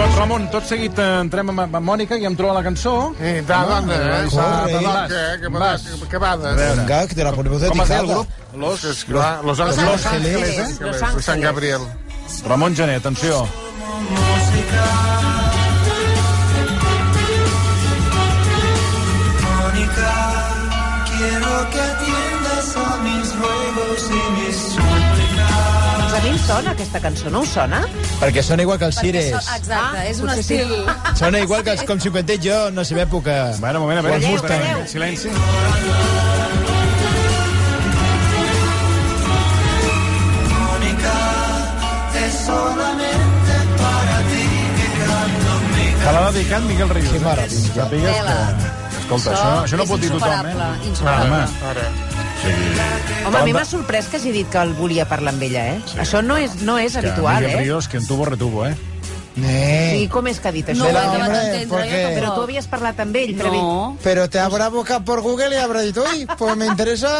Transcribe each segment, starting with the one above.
Doncs Ramon, tot seguit eh, entrem amb, amb Mònica i em troba la cançó. Eh, da, dona, eh, esa corre, palanca, eh, que me da- vas. que- que vades. Venga, que te la ponemos de Com es deia el tijada. grup? Los, es que va, Los Ángeles, Los Ángeles, Los eh? Ángeles, de San Gabriel. Ramon Gené, atenció. Mónica, quiero que atiendas a mis ruegos y mis súplicas. Doncs a mi em sona aquesta cançó, no us sona? Perquè sona igual que els Cires. Exacte, és un Ah, potser sí. estil... Sona igual que els com 50 jo, no sé, època. Bueno, un moment, a veure. Quan Calleu, surten. calleu. Silenci. Mónica, es solamente para ti que canto mi Te l'ha dedicat Miquel Rius. eh? Que mare. Sàpigues que... Tela. Escolta, això, això no és pot dir tothom, eh? insuperable, insuperable. Home, Home, a mi m'ha sorprès que hagi dit que el volia parlar amb ella, eh? Això no és, no és que habitual, Miquel eh? Rius, que en tubo retubo, eh? I Eh, com és que ha dit No eh, ho això? he Però, acabat hombre, d'entendre, ¿por jo qué? tampoc. Però tu havies parlat amb ell, Trevi. No. Pero te habrá buscado por Google y habrá dicho, uy, pues me interesa...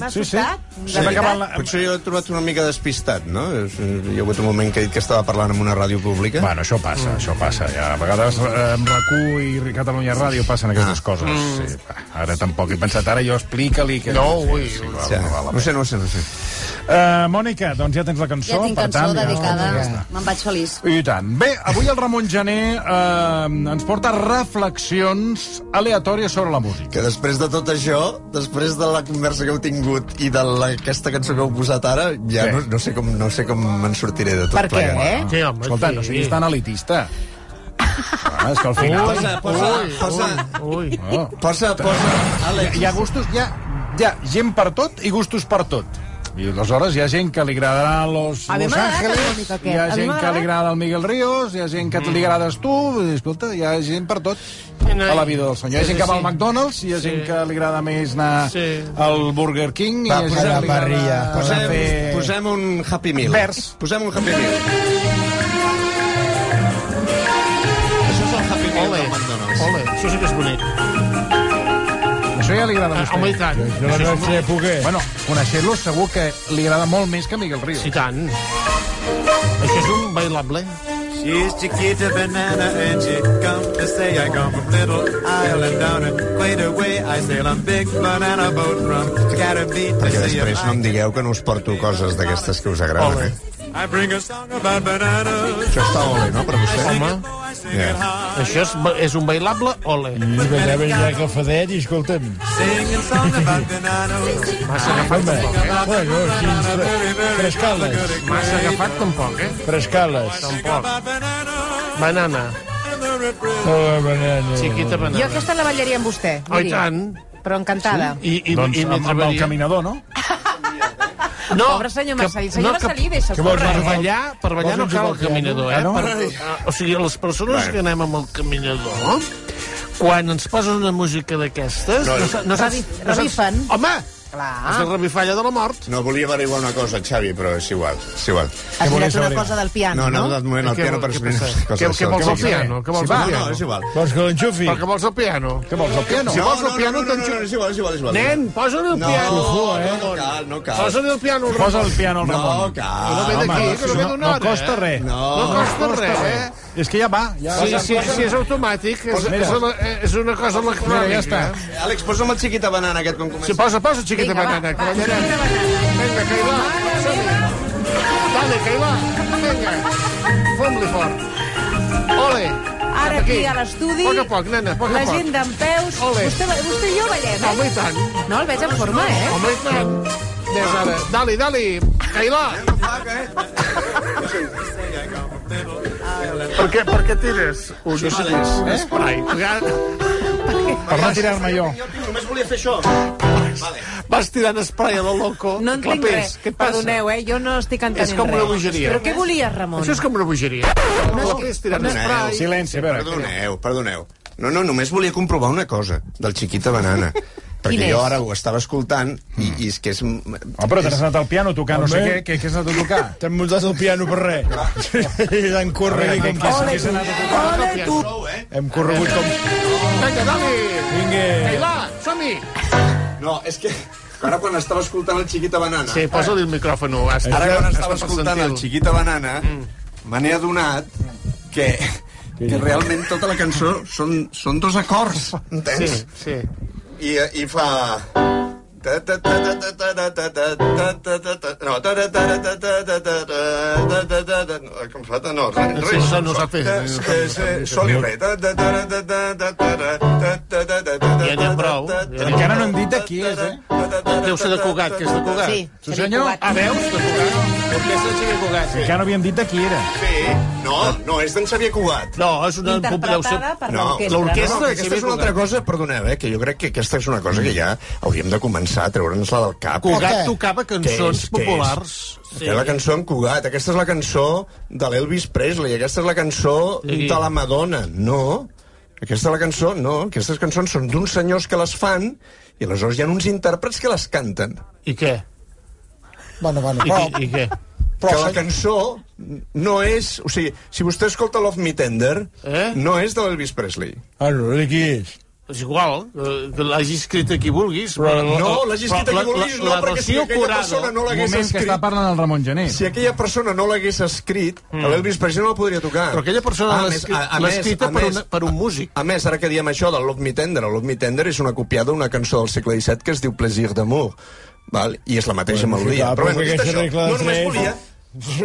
M'ha sobtat? Sí. Hem acabat la... Potser jo he trobat una mica despistat, no? És- Hi ha hagut un moment que he dit que estava parlant amb una ràdio pública. Bueno, això passa, això passa. Ja, a vegades eh, amb RAC1 i Catalunya Ràdio passen aquestes coses. Sí, va, ara tampoc he pensat, ara jo explica-li... Que... No, ui, va, Ja. no val la No sé, no sé, no sé. Eh, Mònica, doncs ja tens la cançó. Ja tinc per cançó tant, ja- dedicada. Ja està. Me'n vaig feliç. I tant. Bé, avui el Ramon Gené eh, ens porta reflexions aleatòries sobre la música. Que després de tot això, després de la conversa que heu tingut i de la, aquesta cançó que heu posat ara, ja Què? no, no sé com no sé com me'n sortiré de tot Per què, plegat. eh? Sí, home, Escolta, sí. no siguis tan elitista. Ah, és que al final... Posa, posa, posa, Ui. Oh. posa, posa, Àlex. Hi ha gustos, hi ha, hi ha gent per tot i gustos per tot. I aleshores hi ha gent que li agradarà Los, A mi Los m'ha agradat Ángeles, una mica hi aquest. ha A mi gent m'ha que li agradat. agrada el Miguel Ríos, hi ha gent que mm. li agrades tu, vull dir, escolta, hi ha gent per tot no, a la i- vida del senyor. Hi ha sí, gent que va sí. al McDonald's, hi ha gent que li agrada més anar Sí. al Burger King, Va, hi ha gent posem que la li agrada parrilla, Posem, fer- posem un Happy Meal. Vers. Posem un Happy Meal. Això és el Happy Meal del McDonald's. Ole, això sí que és bonic. Això ja li agrada a Ah, vostè. home, i tant. Yo no sé, Pugué. Bueno, coneixer-lo segur que li agrada molt més que a Miguel Ríos. Sí, tant. Això és un bailable. She's Chiquita Banana and she come to say I come from Little Island down in Quater Way. I sail on big banana boat from Caribbean to Perquè see if després no I em digueu que no us porto coses d'aquestes que us agraden, eh? I bring a song about bananas. Això està ole, no, per vostè? Home. I sing it Yeah. high. Això és, ba- és un bailable, ole. I vindrà, vindrà el cafadet i escolta'm. Singing song about bananas. M'has agafat Home, tampoc, eh? bueno, sí, fre- frescales, M'has agafat tampoc, eh? frescales. Tampoc. Banana, Oh, banana. chiquita Jo banana. aquesta la ballaria amb vostè, Oh, i miri. tant. Però encantada. I, i, doncs i amb, amb el m'atreveria- caminador, no? No, Pobre senyor Marcelí. Senyor no, que- Marcelí, deixa vols, Per Ramon? ballar, per ballar Vols no un cal el jugador? caminador, eh? Ah, no? Per, eh, o sigui, les persones que anem amb el caminador, no? quan ens posen una música d'aquestes... No, sa- no, saps- Revi- no saps- revifen. Ah. Home! Clar. És la revifalla de la mort. No, volia averiguar una cosa, Xavi, però és igual, és igual. Has mirat una saber? cosa del piano, No, no, no? de moment el Eh, Què piano vol- per què mi no és passa? cosa Què- de què vols sol. el piano? Què vols Sí, va, el piano? No, és igual. Vols que l'enxufi? Però que vols el piano? Què vols, el piano? Si No, vols no, el piano, no, no, no, no, és igual, és igual, és igual. Nen, posa'l el No, eh. piano. eh. no, no cal, no cal. Posa'l el piano, Ramon. Posa el piano al Ramon. No cal. No ve Home, d'aquí, que no ve no, d'una no hora. costa eh? res. No No, costa res, eh? És que ja va. Ja Sí, sí, sí, és automàtic, és, mira. és, una- és una cosa electrònica. eh? Mira, ja està. Àlex, posa'm el xiquita banana aquest quan comença. Sí, posa, posa, xiquita Vinga, va, banana, va, que ballarem. xiquita banana. Vinga, que hi va. Dale, que hi va. Vinga, fom-li fort. Ole. Ara cap aquí, a l'estudi, A poc a poc, nena, a poc a la poc. gent d'en peus... Ole. Vostè, vostè i jo ballem, Home, eh? i tant. No, el veig en forma, eh? Home, i tant. Des ara. Dali, dali. Que hi va. Per què, per què tires? Un, dos, tres. Esprai. Ja- Per no tirar-me jo. Jo tinc només volia fer això. Vas tirant esprai a lo loco. No entenc clapés. res. Què et passa? Perdoneu, eh? Jo no estic entenent És com una res. bogeria. Però què volies, Ramon? Això és com una bogeria. Clapés tirant Perdoneu, esprai. Silenci, a veure. Perdoneu, perdoneu. No, no, només volia comprovar una cosa, del Chiquita Banana. Quina perquè jo és? ara ho estava escoltant i, Mm. i és que és... Oh, però t'has anat al piano a tocar no sé Home. què, què, què has anat a tocar? T'han muntat el piano per res. I t'han corregut com que Ole, s'hagués anat. Ole, tu! Hem corregut com... Vinga, dale! Vinga. Cailà, som-hi! No, és que ara quan estava escoltant el Chiquita Banana... Sí, posa-li el micròfon. Ara, Ara quan estava escoltant el Chiquita Banana, Mm. me n'he adonat que, que realment tota la cançó són, són dos acords, Sí, entens? sí. I, i fa... Ta, ta, ta, ta, ta, ta, ta, ta, ta, ta, ta, ta, No, ta, ta, ta, ta, ta, ta, ta, ta, ta, ta, ta, no, com fa? No, re, Sí, re, no, no sol. sap fer, Eh, no sap eh, eh, Sol i re. Ta, ta, ta, ta, ta, ta, ta, ta, ta, ta, ta, ta, ta, Ja n'hi ha prou. ta, ta, ta, Encara no hem dit de qui és, eh? Deu ser de Cugat, que és de Cugat. Sí, Sí, Xavier senyor. Cugat. Ah, veus? De Cugat. Orquestra de Xavier Cugat. Encara no havíem dit de qui era. Sí, no, no, és d'en Xavier Cugat. No, és una... deu ser- Interpretada per No, l'orquestra- l'orquestra. No, no, que aquesta Xavier és una altra cosa, perdoneu, eh, que jo crec que aquesta és una cosa que ja hauríem de començar a treure'ns-la del cap. Cugat Què? tocava cançons Què és? Què és? populars. Sí. la cançó en Cugat, aquesta és la cançó de l'Elvis Presley, aquesta és la cançó Sí. de la Madonna. No, aquesta és la cançó, no, aquestes cançons són d'uns senyors que les fan i aleshores hi ha uns intèrprets que les canten. I què? Bueno, bueno. I, Però, i, i què? Però que la senyor- cançó no és... O sigui, si vostè escolta Love Me Tender, Eh? no és de l'Elvis Presley. Ah, no, de qui és? És igual, eh, que l'hagi escrit a qui vulguis. Però, No, l'hagi escrit a qui vulguis, no, perquè si aquella persona no Un l'hagués moment que escrit- està parlant el Ramon Gené. Si aquella persona no l'hagués escrit, mm. l'Elvis Presley no la podria tocar. Però aquella persona l'ha escrit- l'ha escrita per una- per un músic. A, a més, ara que diem això del Love Me Tender, el Love Me Tender és una copiada d'una cançó del segle XVII que es diu Plaisir d'amour, val? i és la mateixa Bueno, melodia. clar, Però bueno, dit aquesta això, regla no només tres- volia... Ah,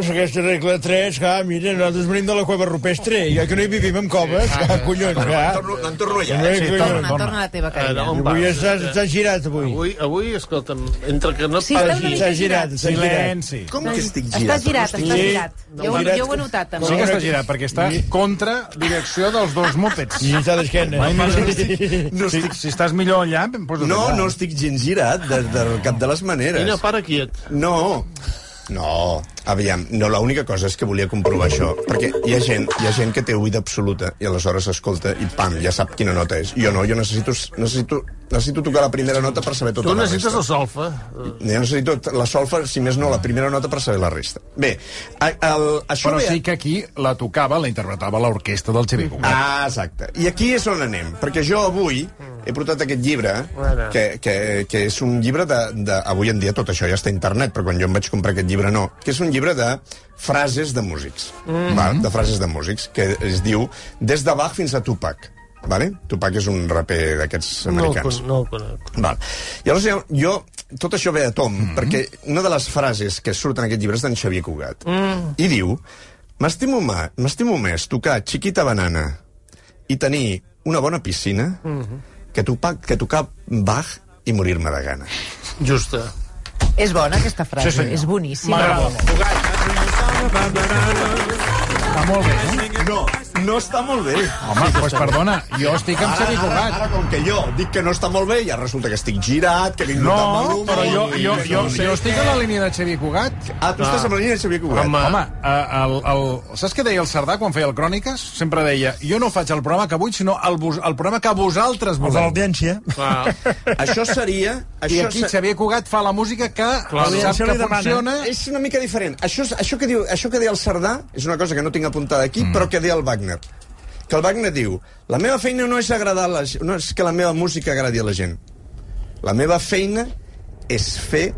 Aquesta regla 3, clar, mira, nosaltres venim de la cueva rupestre, i jo que no hi vivim en coves, clar, collons, En clar. torno, en torno allà. Sí, Sí. collons. Torna, torna a la teva Eh, carina. no, on Avui vas? estàs, estàs girat, avui. Avui, avui, escolta'm, entre que no Sí, et està pares una i- mica S'ha girat, s'ha girat. Silenci. Com que estic Estàs girat? girat, estàs Sí. girat. Jo, ho- Girat. jo ho he notat, també. Sí que està girat, perquè està contra direcció dels dos mopeds. I està d'esquena. Ai, mira, no estic- No Si, estic- si estàs millor allà, em poso No, no estic gens girat, de, de cap de les maneres. Quina para quiet. No. No, aviam, no, l'única cosa és que volia comprovar això, perquè hi ha gent, hi ha gent que té oïda absoluta i aleshores s'escolta i pam, ja sap quina nota és. Jo no, jo necessito, necessito, necessito tocar la primera nota per saber tota Tu la necessites resta. la solfa. Jo necessito la solfa, si més no, la primera nota per saber la resta. Bé, a, el, això Però ve... sí que aquí la tocava, la interpretava l'orquestra del Xavier Cugat. Ah, exacte. I aquí és on anem, perquè jo avui he portat aquest llibre, Bueno. que, que, que és un llibre de, de... Avui en dia tot això ja està a internet, però quan jo em vaig comprar aquest llibre no, que és un llibre de frases de músics, mm. val? de frases de músics, que es diu Des de Bach fins a Tupac. Vale? Tupac és un raper d'aquests No, americans. el con- no el conec. Val. I aleshores jo, tot això ve a Tom, Mhm. mm -hmm. perquè una de les frases que surt en aquest llibre és d'en Xavier Cugat. Mm. I diu, m'estimo ma- m'estimo més tocar Chiquita Banana i tenir una bona piscina mm Mhm. -hmm. que, topa, que tocar Bach i morir-me de gana. Justa. És bona, aquesta frase. senyor. és boníssima. Està molt bé, no? No, no està molt bé. Home, doncs pues perdona, jo estic amb Xavier ara, Cugat. ara, com que jo dic que no està molt bé, ja resulta que estic girat, que vinc notant mal No, humor, però jo, i- jo, jo, i- jo estic a la línia de Xavier Cugat. Ah, tu estàs amb la línia de Xavier Cugat. Home, Home, eh, el, el, saps què deia el Cerdà quan feia el Cròniques? Sempre deia, jo no faig el programa que vull, sinó el, vos- el programa que vosaltres Els de voleu. l'audiència. clar. Això seria... I Això aquí se- Xavier Cugat fa la música que sap l'audiència que li demana. funciona. És una mica diferent. Això, és- això, que diu, això que deia el Cerdà és una cosa que no tinc apuntada aquí, mm. però que deia el Wagner. Que el Wagner diu, la meva feina no és, agradar a la, ge- no és que la meva música agradi a la gent. La meva feina és fer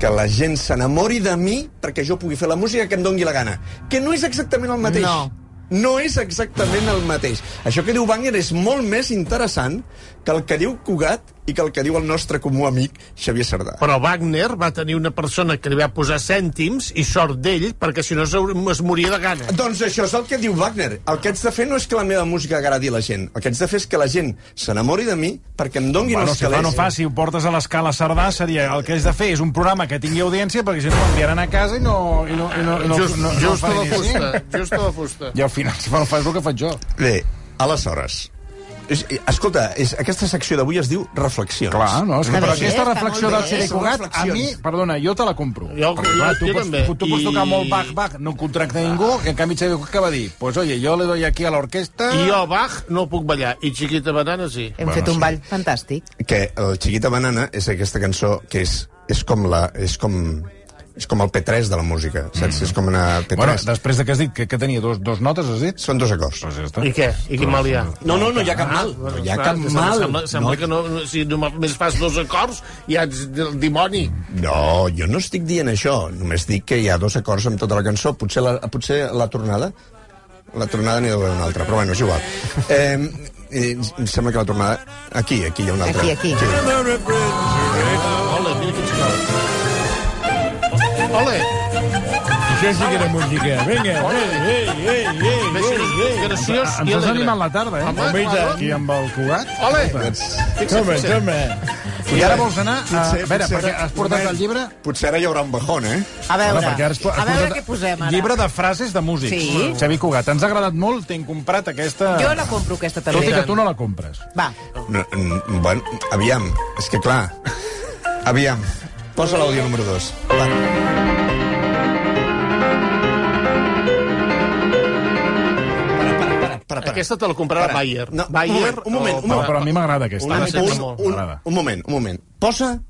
que la gent s'enamori de mi perquè jo pugui fer la música que em dongui la gana. Que no és exactament el mateix. No. No és exactament el mateix. Això que diu Wagner és molt més interessant que el que diu Cugat i que el que diu el nostre comú amic Xavier Cerdà. Però Wagner va tenir una persona que li va posar cèntims i sort d'ell, perquè si no s'hau- es moria de gana. Doncs això és el que diu Wagner. El que haig de fer no és que la meva música agradi a la gent. El que haig de fer és que la gent s'enamori de mi perquè em donguin Bueno, els si fa calés. no eh? fa, si ho portes a l'escala Cerdà, seria el que has de fer és un programa que tingui audiència, perquè si no l'enviaran a casa i no... I no, i no, i no Just, no, no just fa a la ni així. fusta. Just a la fusta. I al final si fa- fas el que faig jo. Bé, aleshores, És- Escolta, és, aquesta secció d'avui es diu Reflexions. Clar, no, és que, Està però bé, aquesta està reflexió molt del bé, Xeri són Cugat, a mi, reflexions. perdona, jo te la compro. Jo- Perquè, clar, jo- tu, jo pots, també. tu, tu pots tocar I- molt Bach, Bach, no contracta ningú, i en canvi Xavier Cugat què va dir? Pues oye, jo le doy aquí a l'orquestra... I jo, Bach, no puc ballar. I Chiquita Banana, sí. Hem fet un ball fantàstic. que el Chiquita Banana és aquesta cançó que és, és com la... És com, és com el P3 de la música, saps? Mm. És com una P3. Bueno, Bueno, després de què has dit? Que, que tenia dos, dos notes, has dit? Doncs Són dos acords. Pues ja està. I què? I quin mal hi ha? No, no, no hi ha cap mal. Bueno, No hi ha clar, cap sembla- mal. Sembla, sembla no. que no, no- si només fas dos acords ja ets del dimoni. No, jo no estic dient això. Només dic que hi ha dos acords amb tota la cançó. Potser la, potser la tornada... La tornada n'hi deu haver una altra, però bueno, és igual. Eh, eh, em sembla que la tornada... Aquí, aquí hi ha una altra. Aquí, aquí. Sí. Ole, mira quins cors. Ole, Això sí que era música. Vinga, ei, ei, ei, ei, ei, ei. graciós i Ens has alegre. animat la tarda, eh? Home, Home, i tant. Aquí amb el Cugat. Ole, Toma, fixa't, fixa't. toma. I ara vols anar... A, a Potser- veure, potser perquè ara- has portat el llibre... Potser ara hi haurà un bajón, eh? A veure, perquè ara has po- has a veure portat què posem ara. Llibre de frases de músics. Sí. Xavi Cugat, ens ha agradat molt, t'hem comprat aquesta... Jo la compro, aquesta, també. Tot i que tu no la compres. Va, No, mm, bueno, aviam, és que clar... Aviam, posa l'àudio número 2. Va. Para, para. Aquesta te la comprarà Para. Bayer. No, un Bayer moment, un moment, o- un moment. No, però a mi m'agrada Un, aquesta. Una- un, sense Ah, molt. un, M'agrada. un moment, un moment. Posa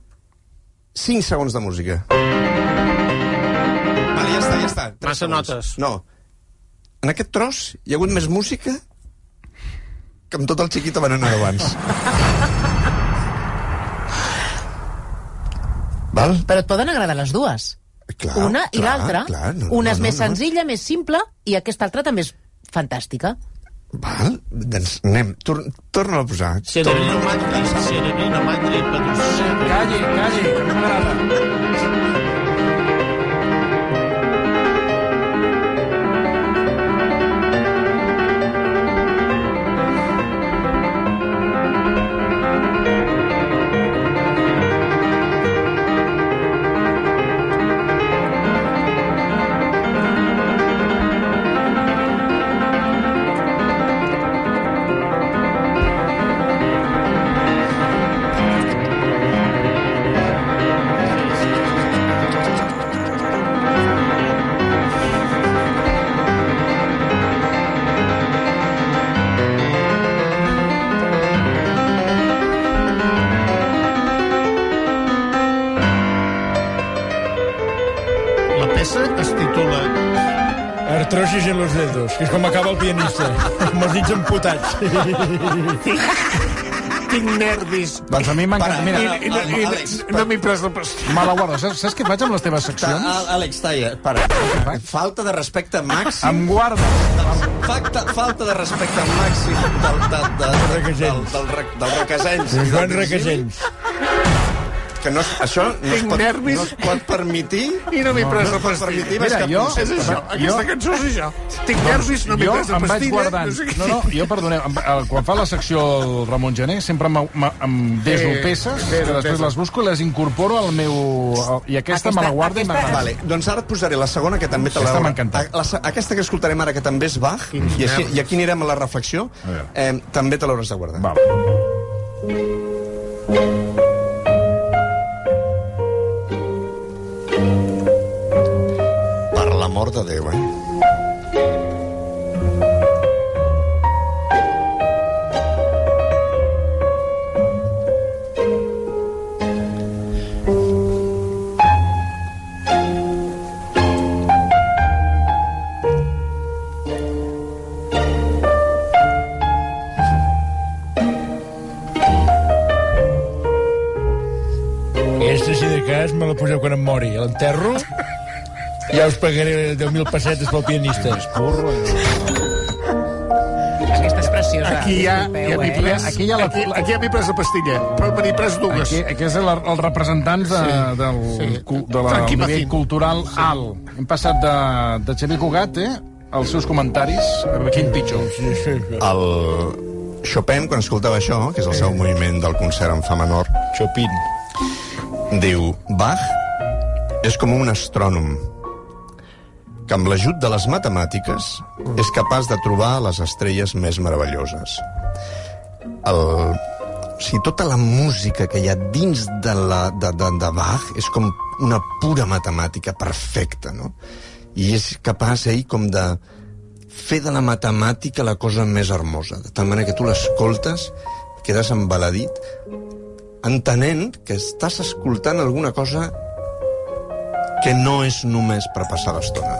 5 segons de música. Vale, ja està, ja està. Tres Massa segons. notes. No. En aquest tros hi ha hagut més música que amb tot el xiquita banana d'abans. Val? però et poden agradar les dues. Clar, Ah, Una i clar, l'altra. clar, no, Una no, és no, més no. senzilla, més simple, i aquesta altra també és fantàstica. Val? Doncs anem, tor torna a posar. Cerebino Madrid, Cerebino Madrid, Pedro Calli, calli, que no m'agrada. La peça es titula Artrosis en los dedos, que és com acaba el pianista. Amb els dits amputats. Tinc nervis. Doncs a mi m'encanta. Para, Mira, i- i- i- Àlex, No m'he pres la pastilla. me la guardo. Saps, saps què faig amb les teves seccions? Ah, Ta- Àlex, talla, para. Falta de respecte ah. màxim. Em guardo. Falta, falta de respecte al màxim del, del, del, del, del, del, rec- del requesens. Del Joan Del Virgili, Requesens. Doncs Que no, es- això no es, Tinc pot, nervis. no es pot permetir... I no m'he pres la No es pot pastilla. permetir més Mira, cap jo- concepte. És això, aquesta cançó és això. Tinc nervis, no m'he jo pres la em vaig pastilla. guardant... sé què. No, no, jo, perdoneu, em, el, quan fa la secció el Ramon Gené, sempre em, em, em deso Eh, peces, deso que després peces. les busco i les incorporo al meu... Al, I aquesta, me la guardo i m'agrada. Vale, doncs ara et posaré la segona, que també te Aquesta la... m'ha encantat. A- La, se- aquesta que escoltarem ara, que també és Bach, i, així, i aquí anirem a la reflexió, A veure. eh, també te l'hauràs de guardar. Val. Per l'amor de Déu, eh? Aquesta, si de cas, me la poseu quan em mori. L'enterro, ja us pagaré 10.000 pessetes pel pianista. Aquesta és preciosa. Aquí ja, Disculpeu, ja m'hi eh? pres, Aquí ja la- aquí, aquí ja m'hi pres la pastilla, però me n'hi pres dues. Aquí, aquí és el, els representants de, Sí, del, sí. cu- de la Frankie nivell Macín. cultural alt. Hem passat de, de Xavier Cugat, eh? els seus comentaris, a veure quin pitjor. El Chopin, quan escoltava això, que és el seu moviment del concert en fa menor, Chopin. Diu, Bach és com un astrònom que amb l'ajut de les matemàtiques és capaç de trobar les estrelles més meravelloses. el, o sigui, tota la música que hi ha dins de, la, de, de, de Bach és com una pura matemàtica perfecta, no? I és capaç ell com de fer de la matemàtica la cosa més hermosa, de tal manera que tu l'escoltes, quedes embaladit, entenent que estàs escoltant alguna cosa que no és només per passar l'estona.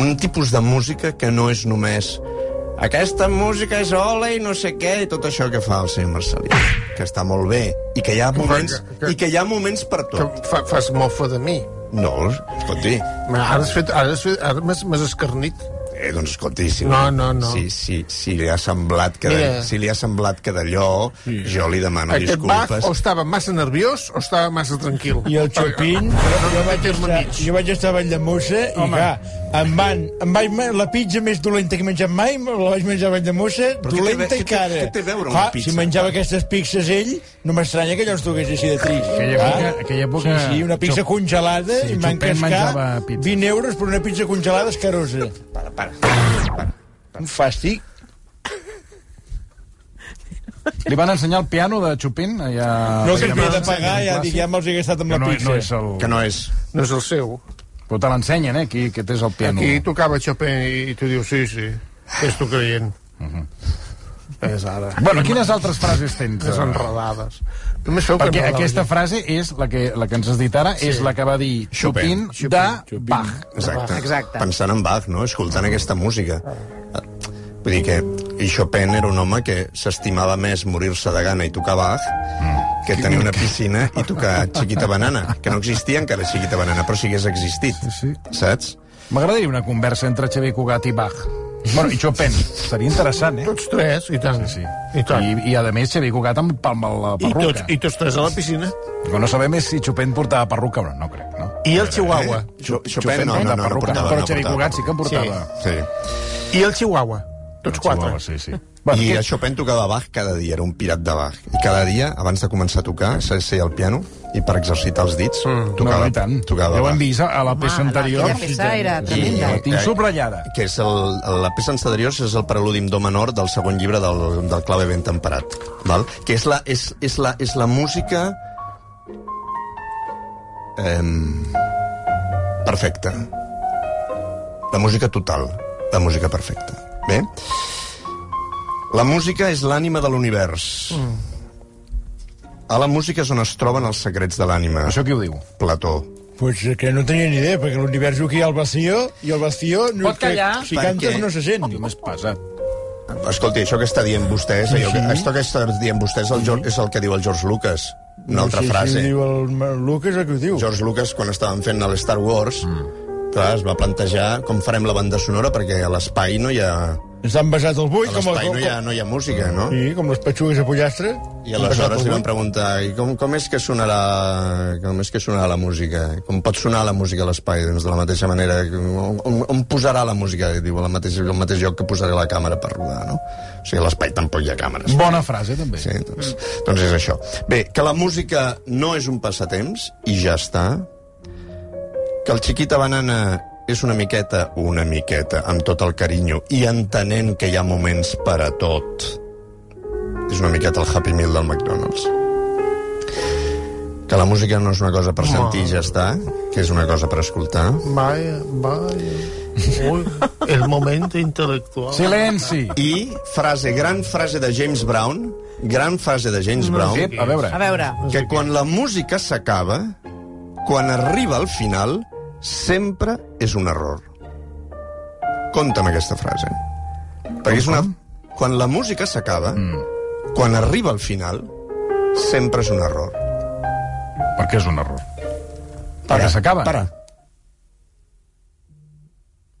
Un tipus de música que no és només aquesta música és ola i no sé què, i tot això que fa el senyor Marcelí, que està molt bé, i que hi ha moments, que- i que hi ha moments per Que tot. fa, fas mofa de mi. No, escolti, Ara has fet... Ara, has fet, ara m'has- m'has escarnit. Eh, doncs escolti, si, No, no, no. Si, si, si li ha semblat que, de, Mira. si li ha semblat que d'allò, jo li demano Ah, Aquest Bach disculpes. o estava massa nerviós o estava massa tranquil. I el Chopin, jo, jo, vaig terme estar, mig. jo vaig estar a Valldemossa i, clar, em van, em vaig, ma- la pizza més dolenta que he menjat mai, me la vaig menjar a Valldemossa, Però què té dolenta ve- i què té- cara. què té a veure una Clar, pizza? Si menjava aquestes pizzas ell, no m'estranya que allò es dugués així de trist. Aquella clar. època- aquella època- Sí, sí, una pizza Chop- congelada Sí, i m'han Chopin menjava cascat pizza. 20 euros per una pizza congelada escarosa. Para, para, para. Un fàstic. Li van ensenyar el piano de Chopin? eh, Ah, Ja... No, que havia de pagar, ja, dic, ja me'ls he gastat amb Que la no, pizza. no és el... Que no és... No és el seu. Però te l'ensenyen, eh? Aquí, aquest és el piano. Aquí tocava Chopin i, i tu dius, sí, sí, és tu creient. Mhm. És ara. Bueno, quines altres frases tens? eh? Desenredades. Només feu Perquè enredades. aquesta frase és la que, la que ens has dit ara, sí. és la que va dir Chopin, Chopin de Chopin. Bach. Exacte. Exacte. Pensant en Bach, no? Escoltant aquesta música. Vull dir que i Chopin era un home que s'estimava més morir-se de gana i tocar Bach Mm. que tenir una piscina i tocar Chiquita Banana, que no existia encara Chiquita Banana, però si hagués existit, Sí, saps? M'agradaria una conversa entre Xavier Cugat i Bach. Bueno, i Chopin. Seria interessant, eh? Tots tres, i tant. Sí. I tant. I, I, a més, Xavier Cugat amb, amb la I tots, perruca. I tots tres a la piscina. Però no sabem és si Chopin portava perruca o no, no crec, no? I el Chihuahua. Eh, Cho- Chopin no, no, no, no Eh, perruca, portava. però no Xavier portava. Cugat sí que en portava. Sí. I el Chihuahua. Tots quatre. Sí, sí. Bueno, I I a això... Chopin tocava Bach cada dia, era un pirat de Bach. I cada dia, abans de començar a tocar, s'asseia al piano i per exercitar els dits mm, no, tocava, i tant. tocava ja ho Bach. hem vist eh, a la peça Home, anterior. Aquella Ah, peça era I- tremenda. La tinc eh, subratllada. que és el, la peça anterior és el preludi en do menor del segon llibre del, del clave ben temperat val? que és la, és, és la, és la música ehm, perfecta la música total la música perfecta bé la música és l'ànima de l'univers mm. a la música és on es troben els secrets de l'ànima Això qui ho diu? Plató Pues eh, que no tenia ni idea, perquè l'univers aquí hi ha el vació, i el vació... No Pot callar? Que, si Per cantes què? no se sent. Home, és pesat. Escolti, això que està dient vostès, allò que, Sí. això que està dient vostès el, George- és el que diu el George Lucas. Una altra no sé frase. Si ho diu el Ma- Lucas o què ho diu. George Lucas, quan estaven fent el Star Wars, Mm. clar, es va plantejar com farem la banda sonora, perquè a l'espai no hi ha... Ens han basat el bull A com el... l'espai Com, no, hi ha, no hi ha música, no? Sí, com les petxugues a pollastre. I aleshores li Basat van el bull. preguntar I com, com és que sonarà com és que sonarà la música? Com pot sonar la música a l'espai? Doncs de la mateixa manera que- on, on, on posarà la música? Diu, al mateix, al mateix lloc que posaré la càmera per rodar, no? O sigui, a l'espai tampoc hi ha càmeres. Bona frase, també. Sí, doncs, doncs és això. Bé, que la música no és un passatemps, i ja està. Que el Chiquita Banana és una miqueta, una miqueta, amb tot el carinyo, i entenent que hi ha moments per a tot. És una miqueta el Happy Meal del McDonald's. Que la música no és una cosa per sentir i ja està, que és una cosa per escoltar. Vaya, vaya. Ui, el moment intel·lectual. Silenci! I frase, gran frase de James Brown, gran frase de James Brown, Ep, a veure. A veure, que quan la música s'acaba, quan arriba al final, sempre és un error. Compte amb aquesta frase. Perquè és una... Quan la música s'acaba, mm. quan arriba al final, sempre és un error. Per què és un error? Perquè s'acaba. Para.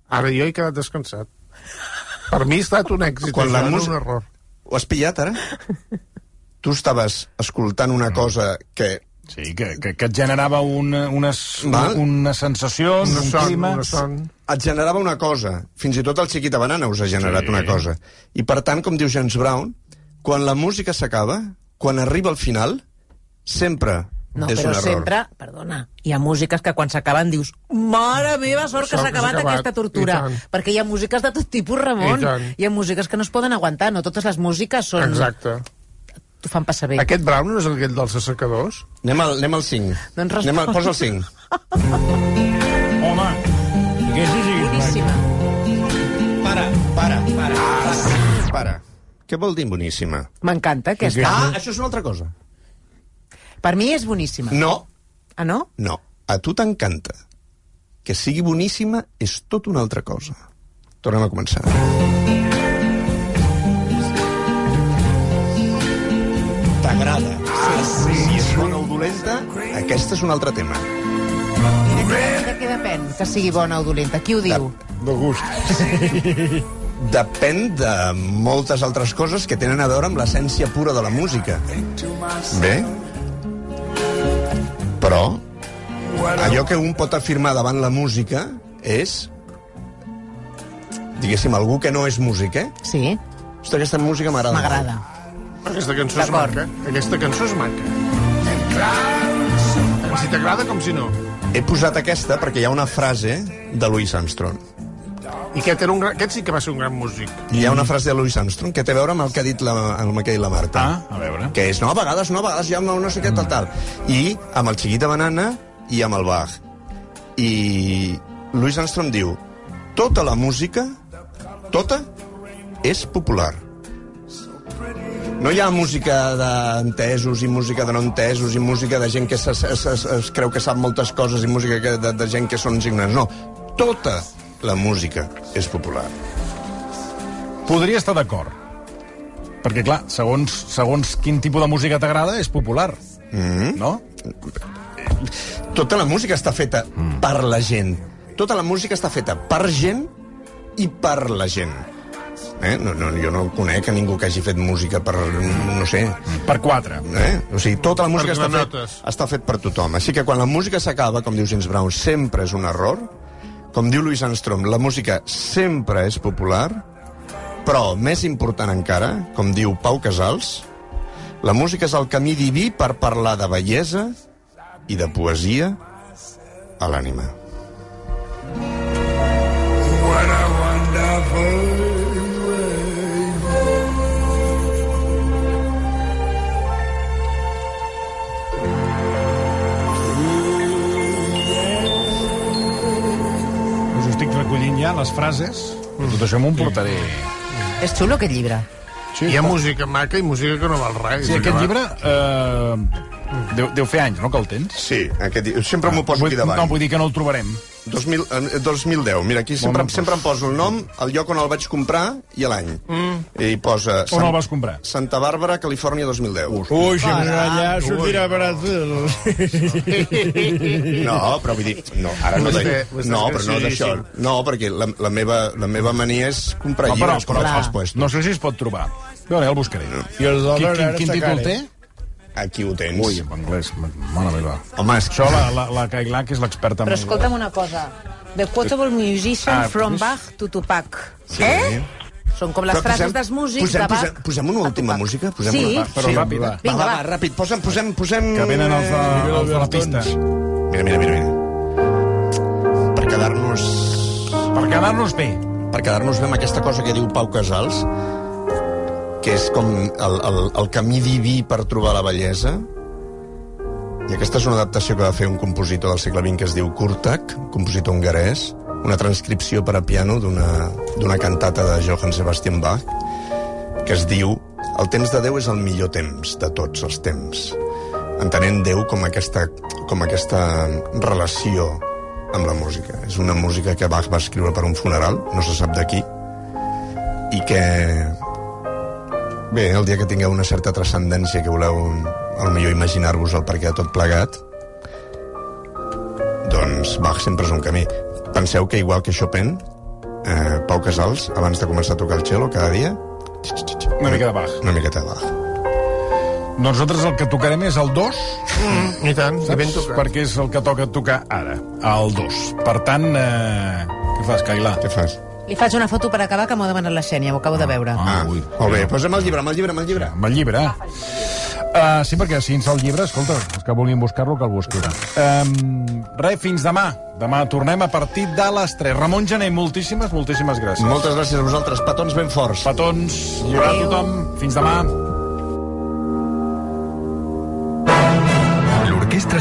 Ara jo he quedat descansat. Per mi ha estat un èxit, Quan Quan la això, no música- un error. Ho has pillat, ara? tu estaves escoltant una cosa que... Sí, que, que, que et generava una, unes, Val. unes sensacions, No un son, clima... no son. et generava una cosa. Fins i tot el Chiquita Banana us ha generat sí. una cosa. I per tant, com diu James Brown, quan la música s'acaba, quan arriba al final, sempre No, És però un error. sempre, perdona, hi ha músiques que quan s'acaben dius mare meva, sort que Sort s'ha que s'ha acabat acabat, aquesta i tortura. tant. Perquè hi ha músiques de tot tipus, I Ramon. tant. Hi ha músiques que no es poden aguantar, no totes les músiques són... Exacte. T'ho fan passar bé. Aquest Brown no és aquell dels assecadors? Anem al, anem al 5. Doncs respon. anem al, posa el 5. Home, aquesta sí que és maca. Boníssima. Para, para, para. Ah, sí, para. Què vol dir boníssima? M'encanta aquesta. Ah, això és una altra cosa. Per mi és boníssima. No, Ah, no? no. A tu t'encanta. Que sigui boníssima és tot una altra cosa. Tornem a començar. T'agrada. Ah, sí, sí, és bona o dolenta. Aquest és un altre tema. De què depèn que sigui bona o dolenta? Qui ho diu? Depèn de moltes altres coses que tenen a veure amb l'essència pura de la música. Bé? Però allò que un pot afirmar davant la música és diguéssim, algú que no és músic, eh? Sí, Hosti, aquesta música m'agrada. molt. m'agrada. Aquesta cançó és D'acord. maca. Aquesta cançó és maca. Tant Si t'agrada com si no. He posat aquesta perquè hi ha una frase de Louis Armstrong. I aquest, era un gran... aquest sí que va ser un gran músic. Hi ha una frase de Louis Armstrong que té a veure amb el que ha dit la, amb el que ha dit la Marta. Ah, a veure. Que és, no, a vegades no, a vegades hi ha no sé què, tal, tal. I amb el Chiquita Banana i amb el Bach. I Louis Armstrong diu, tota la música, tota, és popular. No hi ha música d'entesos i música de no entesos i música de gent que es, es, es, es creu que sap moltes coses i música que, de, de gent que són ignorants. No, tota la música és popular. Podria estar d'acord. Perquè, clar, segons, segons quin tipus de música t'agrada, és popular. Mm-hmm. Mm -hmm. No? Tota la música està feta mm. per la gent. Tota la música està feta per gent i per la gent. Eh? No, no, jo no conec a ningú que hagi fet música per... no sé... Per quatre. Eh? O sigui, tota la música Per està fet, granotes. està fet per tothom. Així que quan la música s'acaba, com diu James Brown, sempre és un error. Com diu Louis Armstrong, la música sempre és popular, però, més important encara, com diu Pau Casals, la música és el camí diví per parlar de bellesa i de poesia a l'ànima. Us ho estic recollint ja, les frases. Tot això m'ho portaré. És xulo, aquest llibre. Hi ha música maca i música que no val res. Sí, És aquest acabat. llibre... Eh, deu, deu fer anys, no?, que el tens. Sí, aquest, sempre m'ho poso vull, aquí davant. no, vull dir que no el trobarem. 2000, eh, 2010. Mira, aquí sempre, Bon, sempre em poso el nom, el lloc on el vaig comprar i l'any. doncs. Mm. I posa... On el vas comprar? Santa Bàrbara, Califòrnia 2010. Ui, si em allà sortirà barat. No, però vull dir... No, ara no, Vostè- de, vostè no és però no d'això. graciosíssim. No, perquè la, la, meva, la meva mania és comprar No, però, llibres, però, però- els puestos. No sé si es pot trobar. A veure, ja el buscaré. I el Quin, dòlar quin, ara quin està car, títol té? eh? Aquí ho tens. Ui, en anglès, ma- mare meva. Home, és Això la, la, la Cailà, que és l'experta en Però escolta'm una cosa. The quotable musician Ah, from pues- Bach to Tupac. Sí. Eh? Són com les Però frases posem- dels músics posem- de Bach. posem- posem una a última Tupac. música? Posem sí? una- va, Però Sí, ràpid, va. Va, Vinga, va, va. va, ràpid, posem, posem, posem... Que venen els de, els de la pista. Mira, mira, mira, mira. Per quedar-nos... Per quedar-nos bé. Per quedar-nos bé amb aquesta cosa que diu Pau Casals, que és com el, el, el camí diví per trobar la bellesa. I aquesta és una adaptació que va fer un compositor del segle XX que es diu Kurtak, un compositor hongarès, una transcripció per a piano d'una d'una cantata de Johann Sebastian Bach, que es diu El temps de Déu és el millor temps de tots els temps, entenent Déu com aquesta, com aquesta relació amb la música. És una música que Bach va escriure per un funeral, no se sap d'aquí, i que... Bé, el dia que tingueu una certa transcendència que voleu a lo millor imaginar-vos el perquè de tot plegat, doncs Bach sempre és un camí. Penseu que igual que Chopin, eh, Pau Casals, abans de començar a tocar el cello cada dia, Una mica de Bach. una miqueta de Bach. Doncs Nosaltres el que tocarem és el 2, I tant, i ben saps? tocat. Perquè és el que toca tocar ara, el 2. Per tant, eh... què fas, Cailà? Què fas? Li faig una foto per acabar que m'ho ha demanat la Xènia, ho acabo de veure. Ah, Ah, ui. molt bé, posa'm el llibre, amb el llibre, amb el llibre. Amb el llibre. Eh, Uh, sí, perquè si ens el llibre, escolta, els que vulguin buscar-lo, que el busquin. Um, res, fins demà. Demà tornem a partir de les 3. Ramon Gené, moltíssimes, moltíssimes gràcies. Moltes gràcies a vosaltres. Petons ben forts. Petons. Lliure a tothom. Fins demà. L'Orquestra